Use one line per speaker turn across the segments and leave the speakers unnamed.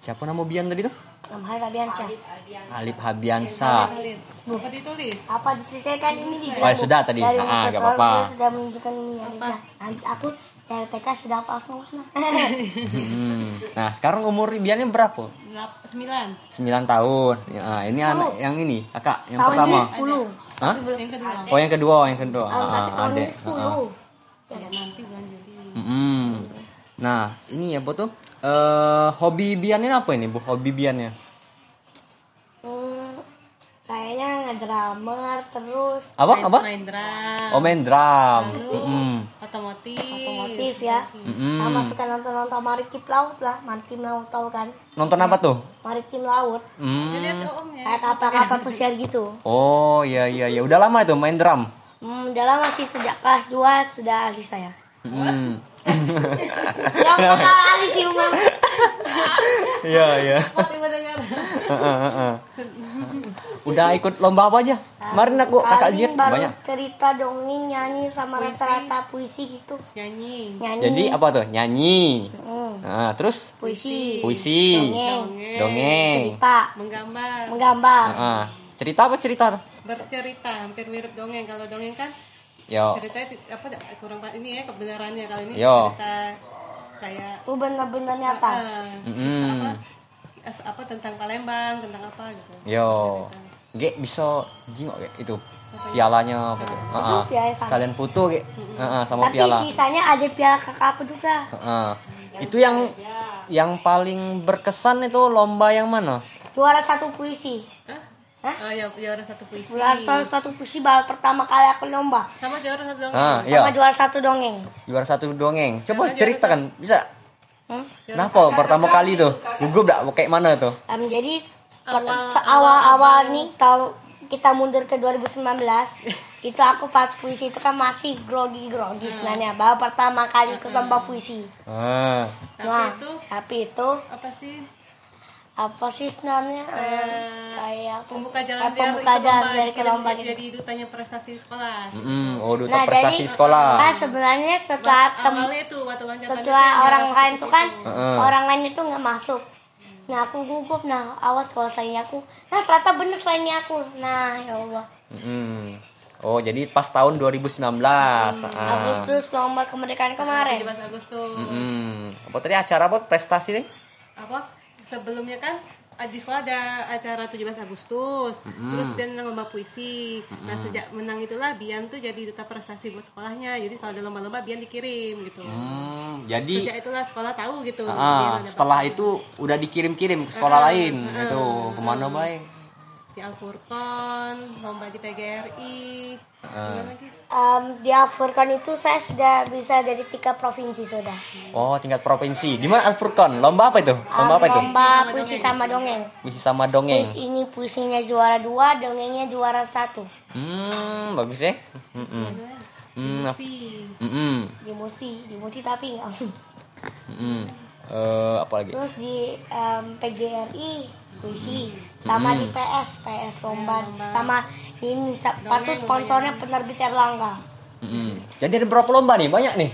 Siapa nama Bian tadi tuh?
Enam hari Rabiansyah.
Alip Habiansa.
Apa ditulis?
Apa diceritakan ini di
Oh, sudah tadi.
Dari
Ah,
masa
nggak
lalu
apa-apa.
beliau Sudah menunjukkan ini Anissa. Nanti aku dari TK sudah hafal semua Husna.
Hmm. Nah, sekarang umur Biannya berapa?
Ngelap- Sembilan.
9 tahun. Ya, ah, ini anak yang ini, Kakak yang
Oh. Tahun
pertama.
ini 10.
Hah?
Yang kedua.
Oh, yang kedua, yang kedua.
Tahun
Ah,
satu tahun
adek.
ini 10.
Ya, nanti bulan Juli.
Mm-mm. Nah, ini ya, Bu tuh. Eh, hobi Bian ini apa ini, Bu? Hobi Biannya?
Hmm, kayaknya ngedramer terus
Apa?
Main-
Apa?
Main drum.
Oh, main drum. Hmm. Mm-mm.
Otomotif.
otomotif ya.
Mm-mm.
Sama suka nonton-nonton maritim laut lah, maritim laut tau kan?
Nonton apa tuh?
Maritim laut.
Hmm.
Lihat Om ya.
Kayak kapal-kapal pesiar gitu.
Oh, iya iya ya. Udah lama itu main drum.
Hmm, udah lama sih sejak kelas 2 sudah alih saya.
Mm.
Yang kenal alih sih Umam.
Iya, iya.
Pot ibu dengar.
Heeh, heeh. Udah ikut lomba apa aja? Kemarin aku kakak
Paling
lihat
baru
banyak.
cerita dongeng nyanyi sama rata-rata puisi gitu.
Nyanyi.
Nyanyi.
Jadi apa tuh? Nyanyi.
Hmm,
Nah, terus
puisi,
puisi,
dongeng,
Dongeng.
dongeng.
cerita,
Menggambar.
menggambar.
Heeh. cerita apa cerita? tuh?
Bercerita. Hampir mirip dongeng. Kalau dongeng kan
Yo.
ceritanya ti- apa kurang pa- ini ya kebenarannya kalau ini
Yo.
cerita kayak
Itu benar-benar nyata.
eh,
Mm-mm.
as- apa tentang Palembang tentang apa gitu
Yo. Ge bisa jingok ge itu pialanya apa tuh? Heeh.
piala sama.
Sekalian foto ge. Heeh, sama
Tapi
piala.
sisanya ada piala kakak aku juga.
Heeh. Itu yang yang paling berkesan itu lomba yang mana?
Juara satu puisi.
Hah?
Hah?
Oh, ya, juara satu puisi
Juara satu puisi baru pertama kali aku lomba.
sama juara satu dongeng
Ah,
Sama
iya.
juara satu dongeng.
Juara satu dongeng. Coba ceritakan, bisa?
Hmm?
Kenapa pertama kali tuh? Gugup dak kayak mana tuh?
Em, jadi awal-awal nih tahun kita mundur ke 2019 itu aku pas puisi itu kan masih grogi-grogi
Hmm.
sebenarnya baru pertama kali ikut lomba puisi
Ah.
Nah,
Tapi itu
tapi itu
apa sih
apa sih sebenarnya Em, kayak eh,
pembuka jalan
pembuka
ikut
jalan
lomba,
dari ke
jadi-
lomba
jadi,
gitu
jadi dutanya prestasi sekolah
Mm, oh, duta
Nah,
prestasi
jadi-
sekolah.
kan sebenarnya setelah tem
awalnya itu waktu loncatan
setelah
itu
orang
juara
lain
satu
tuh kan
puisi.
Heeh.
orang lain itu nggak masuk nah aku gugup nah awas kalau selainnya aku nah ternyata bener selainnya aku nah ya allah
Mm. Oh, jadi pas tahun 2019.
Hmm.
Ah.
Agustus lomba kemerdekaan kemarin
17 Agustus
Mm. Apa tadi acara apa prestasi nih?
apa sebelumnya kan eh, di sekolah ada acara 17 Agustus terus dia menang lomba puisi nah sejak menang itulah Bian tuh jadi duta prestasi buat sekolahnya jadi kalau ada lomba-lomba Bian dikirim gitu
Hmm, jadi
sejak itulah sekolah tahu gitu Bian
ah,
ada
setelah itu udah dikirim-kirim ke sekolah
Hmm.
lain itu kemana baik?
di Al Furqon lomba di PGRI gimana lagi
Em, di Afurkan itu saya sudah bisa dari tiga provinsi sudah
Oh, tingkat provinsi. Di mana Alfurkon? Lomba apa itu?
Em,
Lomba apa itu?
lomba puisi sama dongeng
Puisi sama dongeng.
Puisi ini puisinya juara dua dongengnya juara satu
Hmm, hmm, bagus ya. Mm-mm. Mm, ap-
si
mm-mm,
di musi di musi tapi nggak
mm-mm. hmm. Eh, apa lagi?
terus di em, PGRI puisi sama di PS PS Iya, lomba sama ini sepatu sponsornya penerbit Erlangga
Mm-mm. Hmm, Jadi ada berapa lomba nih? Banyak nih.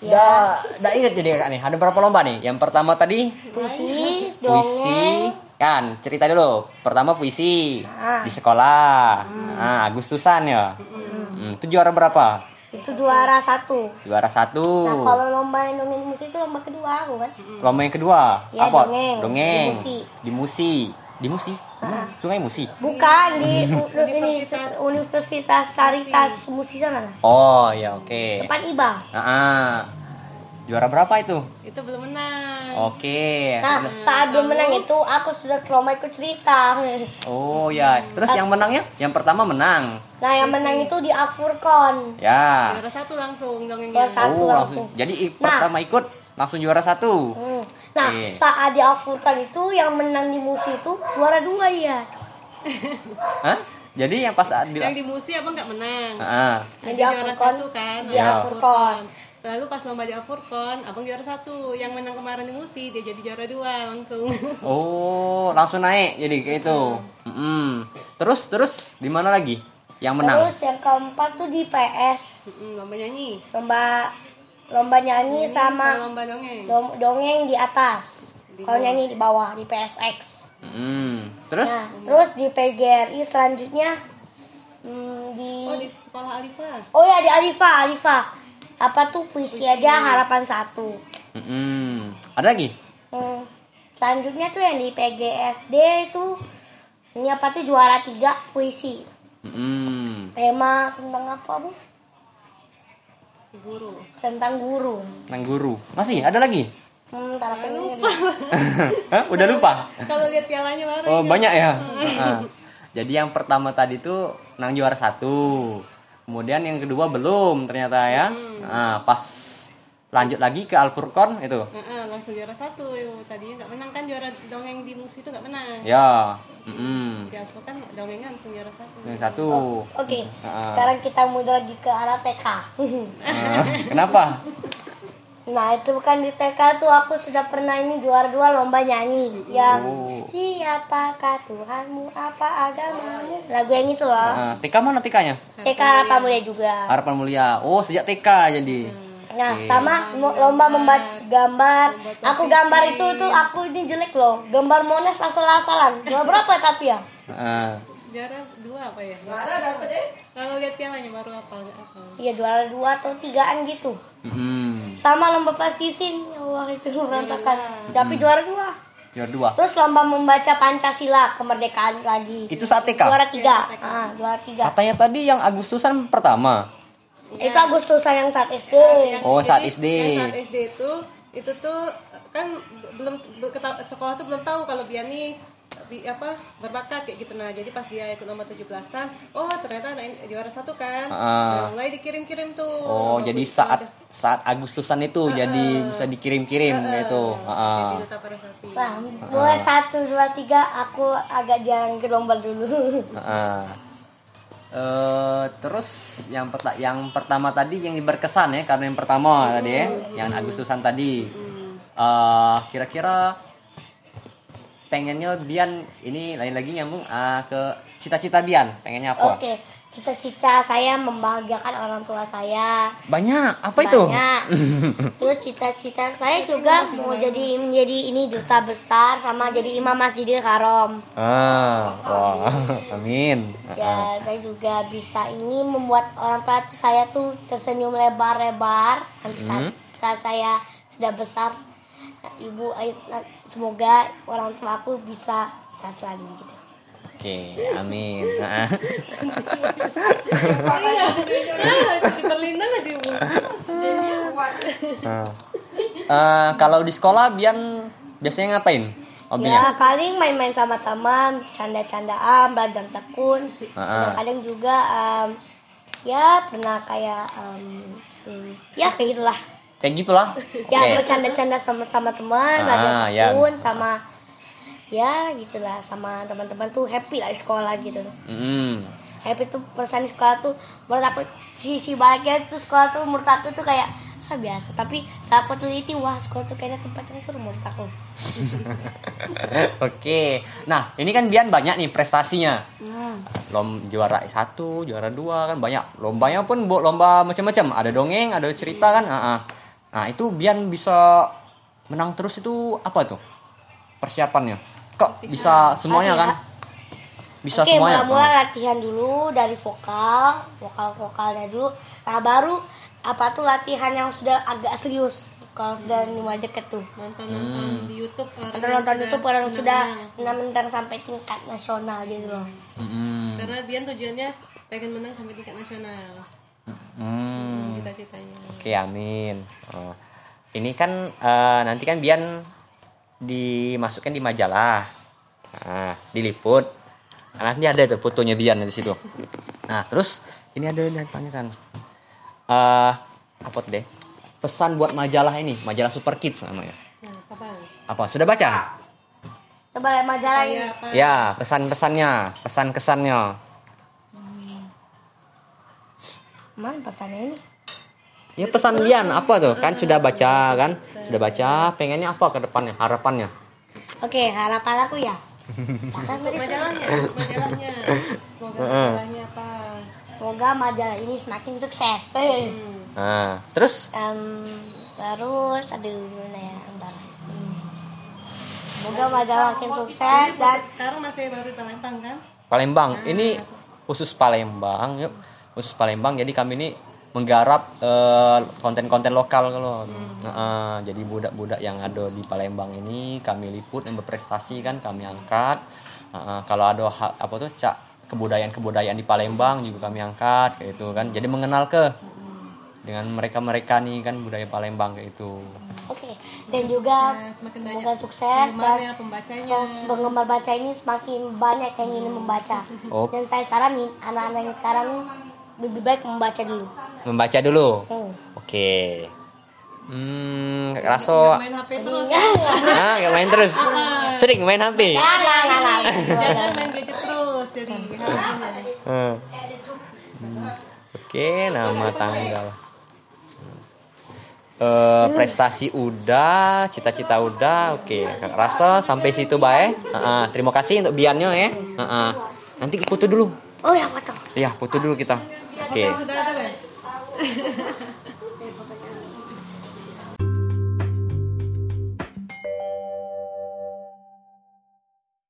Ya.
Dah, dah ingat jadi kakak nih. Ada berapa lomba nih? Yang pertama tadi
puisi
puisi,
dongeng
kan? Cerita dulu. Pertama puisi
Ah.
di sekolah.
Hmm.
Ah, Agustusan ya. Mm, Itu juara berapa?
itu juara satu
Juara satu.
nah kalau lomba yang dongeng musik itu lomba kedua aku kan
Lomba yang kedua
Ya,
apa?
dongeng.
Dongeng.
Di Musi. Ah.
Di Musi. Di Musi. Sungai Musi.
bukan di u- ini Universitas Caritas Musi sana nah.
Oh ya oke.
depan IBA
Ah, ah. juara berapa itu?
itu belum menang
Oke.
nah saat belum menang itu aku sudah ke lomba ikut cerita
Oh ya,
Ah.
terus yang menangnya? Yang pertama menang.
nah yang menang itu di Afurkon
Ya.
juara satu langsung dongengnya
Juara satu
oh,
langsung
Jadi i-
Nah.
pertama ikut langsung juara satu.
Hmm. Nah,
Oke.
saat di Afurkan itu yang menang di musi itu juara dua dia.
Hah? Jadi yang pas adil.
yang di musi abang nggak menang
ya? Ah.
Yang di
Yang di
Al
juara
Furqon,
satu kan
di Al Furqon.
Lalu pas lomba di Al Furqon, abang juara satu. Yang menang kemarin di Musi, dia jadi juara dua langsung.
Oh, langsung naik. Jadi kayak itu. Mm-mm. Terus terus di mana lagi? Yang menang.
Terus yang keempat tuh di PS
Mm, lomba nyanyi.
lomba lomba nyanyi
Nyanyi
sama
lomba dongeng.
dong- dongeng di atas.
Di di
Kalau nyanyi di bawah di PSX.
Mm, terus
Nah, terus di PGRI selanjutnya hmm, di
oh di sekolah Alifa
Oh ya di Alifa, Alifa. Apa tuh puisi aja harapan satu.
Mm, ada lagi
Hmm, selanjutnya tuh yang di PGSD itu ini apa tuh juara tiga puisi.
Mm,
Tema tentang apa bu?
guru
Tentang guru.
tentang guru masih ada lagi
Hmm, ntar aku ingat.
Hah? udah lupa
kalau lihat pialanya baru
oh
Iya.
banyak ya Ah. jadi yang pertama tadi tuh nang juara satu kemudian yang kedua belum ternyata ya
Hmm.
Ah, pas lanjut lagi ke Alpurkon itu
Heeh, langsung juara satu tadinya nggak menang kan juara dongeng di musik itu nggak menang
ya mm,
di Alifa kan dongengnya langsung juara satu
yang satu
Oke,
Ah.
sekarang kita mundur lagi ke arah TK.
Ah, kenapa
Nah itu kan di TK tuh aku sudah pernah ini juara dua lomba nyanyi yang
Oh.
siapakah Tuhanmu apa agamamu lagu yang itu loh
Ah, TK mana TK-nya
TK harapan mulia juga
harapan mulia oh sejak TK jadi
nah sama mo- lomba membaca gambar aku gambar itu tuh aku ini jelek loh gambar monas asal-asalan juara berapa tapi ya
Ah.
juara dua apa ya juara dapat deh kalau lihat pialanya baru apa apa
iya juara dua atau tigaan gitu
Mm,
sama lomba plastisin ya Allah itu berantakan tapi juara dua
juara dua
terus lomba membaca pancasila kemerdekaan lagi
itu saat TK
juara tiga ah juara tiga
katanya tadi yang Agustusan pertama
itu Agustusan yang saat SD
Oh, saat
Jadi,
SD.
yang saat SD itu itu tuh kan belum be- keta- sekolah tuh belum tahu kalau dia nih bi- apa berbakat kayak gitu nah jadi pas dia ikut nomor 17-an oh ternyata anak ini juara satu kan
Ah.
Nah, mulai dikirim-kirim tuh
Oh,
Nomor
jadi
tujuh
saat
ada.
saat Agustusan itu jadi bisa dikirim-kirim gitu. Heeh.
Jadi duta prestasi.
Nah, mulai
Ah.
satu, dua, tiga, aku agak jarang ke lomba dulu.
gitu. Heeh. Eh, terus yang perta- yang pertama tadi yang berkesan ya karena yang pertama tadi ya, yang Agustusan tadi. Eh, kira-kira pengennya Dian ini lagi-lagi nyambung ah, ke cita-cita Dian, pengennya apa?
Oke, cita-cita saya membahagiakan orang tua saya.
Banyak, apa itu?
Banyak. Terus cita-cita saya juga mau jadi menjadi ini duta besar sama jadi imam masjidil haram.
Ah, wah. Amin. Heeh.
Ya, saya juga bisa ini membuat orang tua tuh- saya tuh tersenyum lebar-lebar nanti saat, saat saya sudah besar. Ibu, eh, semoga orang tua aku bisa sehat selalu gitu.
Oke, amin. Heeh.
Iya, iya, di Berlin aja Bu.
Nah. Eh, kalau di sekolah Bian biasanya ngapain? Hobinya?
Ya paling main-main sama teman, canda-candaan, belajar tekun. Nah,
Ah, ah.
Kadang juga em, ya pernah kayak em, si- ya kayak gitulah.
Kayak gitulah. Oke.
Ya bercanda-canda sama sama teman,
Ah,
belajar
ya.
tekun sama ya gitulah sama teman-teman tuh happy lah di sekolah gitu.
Mm.
Happy tuh perasaan di sekolah tuh menurut aku sisi bahagia tuh sekolah tuh menurut aku tuh kayak ah, biasa tapi saat aku teliti wah sekolah tuh kayaknya tempatnya seru menurut aku
Oke. Nah, ini kan Bian banyak nih prestasinya. Hmm. Lom juara satu, juara dua kan banyak. Lombanya pun bu- lomba macam-macam. Ada dongeng, ada cerita kan. Ah, ah. Nah, itu Bian bisa menang terus itu apa tuh? Persiapannya. Kok bisa semuanya kan? Bisa
ya. Oke,
semuanya. Hmm.
mula-mula latihan dulu dari vokal, vokal-vokalnya dulu. Nah, baru apa tuh latihan yang sudah agak serius. Kalau sudah mulai deket tuh.
Nonton-nonton
Hmm.
di YouTube orang
Nonton nonton
yang
YouTube
sudah
orang sudah
menang.
enam menang sampai tingkat nasional gitu loh.
Ah. Mm.
Karena Bian tujuannya pengen menang sampai tingkat nasional.
Mm.
Cita-citanya.
Oke, amin. Oh. Ini kan eh, nanti kan Bian dimasukkan di majalah. Nah, diliput. Nah, nanti ada tuh fotonya Bian di situ. Nah, terus ini ada yang tanyakan. Eh, apa tuh deh? Pesan buat majalah ini, majalah Super Kids namanya.
Nah, apa bang?
Apa? Sudah baca?
Coba lihat majalah ini.
Kayak apa?
Ya, pesan-pesannya, pesan-kesannya.
Mana pesannya ini?
Ya pesan Bian apa tuh? Kan sudah baca kan? Sudah baca, pengennya apa ke depannya? Harapannya?
Oke, harapan aku ya. Bahkan
Untuk
tadi
majalahnya, untuk majalahnya. Semoga majalahnya apa?
semoga majalah ini semakin sukses. Eh.
Hmm.
Nah, terus
Em, terus aduh gimana ya, ntar. Hmm. Semoga Maza
Oh, Iya,
makin sukses dan
sekarang masih baru di Palembang kan?
Palembang ini khusus Palembang yuk khusus Palembang jadi kami ini menggarap eh, konten-konten lokal kalau Heeh, jadi budak-budak yang ada di Palembang ini kami liput yang berprestasi kan kami angkat Heeh, kalau ada hal- apa tuh cak kebudayaan-kebudayaan di Palembang juga kami angkat kayak gitu kan jadi mengenal ke dengan mereka-mereka nih kan budaya Palembang kayak gitu
oke dan juga
Nah, semakin banyak
semoga sukses dan
penggemarnya, pembacanya.
penggemar baca ini semakin banyak yang ingin membaca.
oh
Dan saya saranin anak-anak yang sekarang lebih baik membaca dulu.
membaca dulu
Hmm.
oke hmm raso
Main HP terus.
Iya.
ah nggak main terus sering Ah. main HP
Jangan, jangan.
Jangan main gadget terus jadi
Iya.
Hmm. Oke, nama tanggal. Eh, prestasi udah, cita-cita udah, oke. Rasa sampai situ bae. Heeh, ah. terima kasih untuk biannya ya. Heeh. Nanti foto dulu.
Oh ya, betul.
Iya, foto dulu kita. Oke.
sudah ada Bang?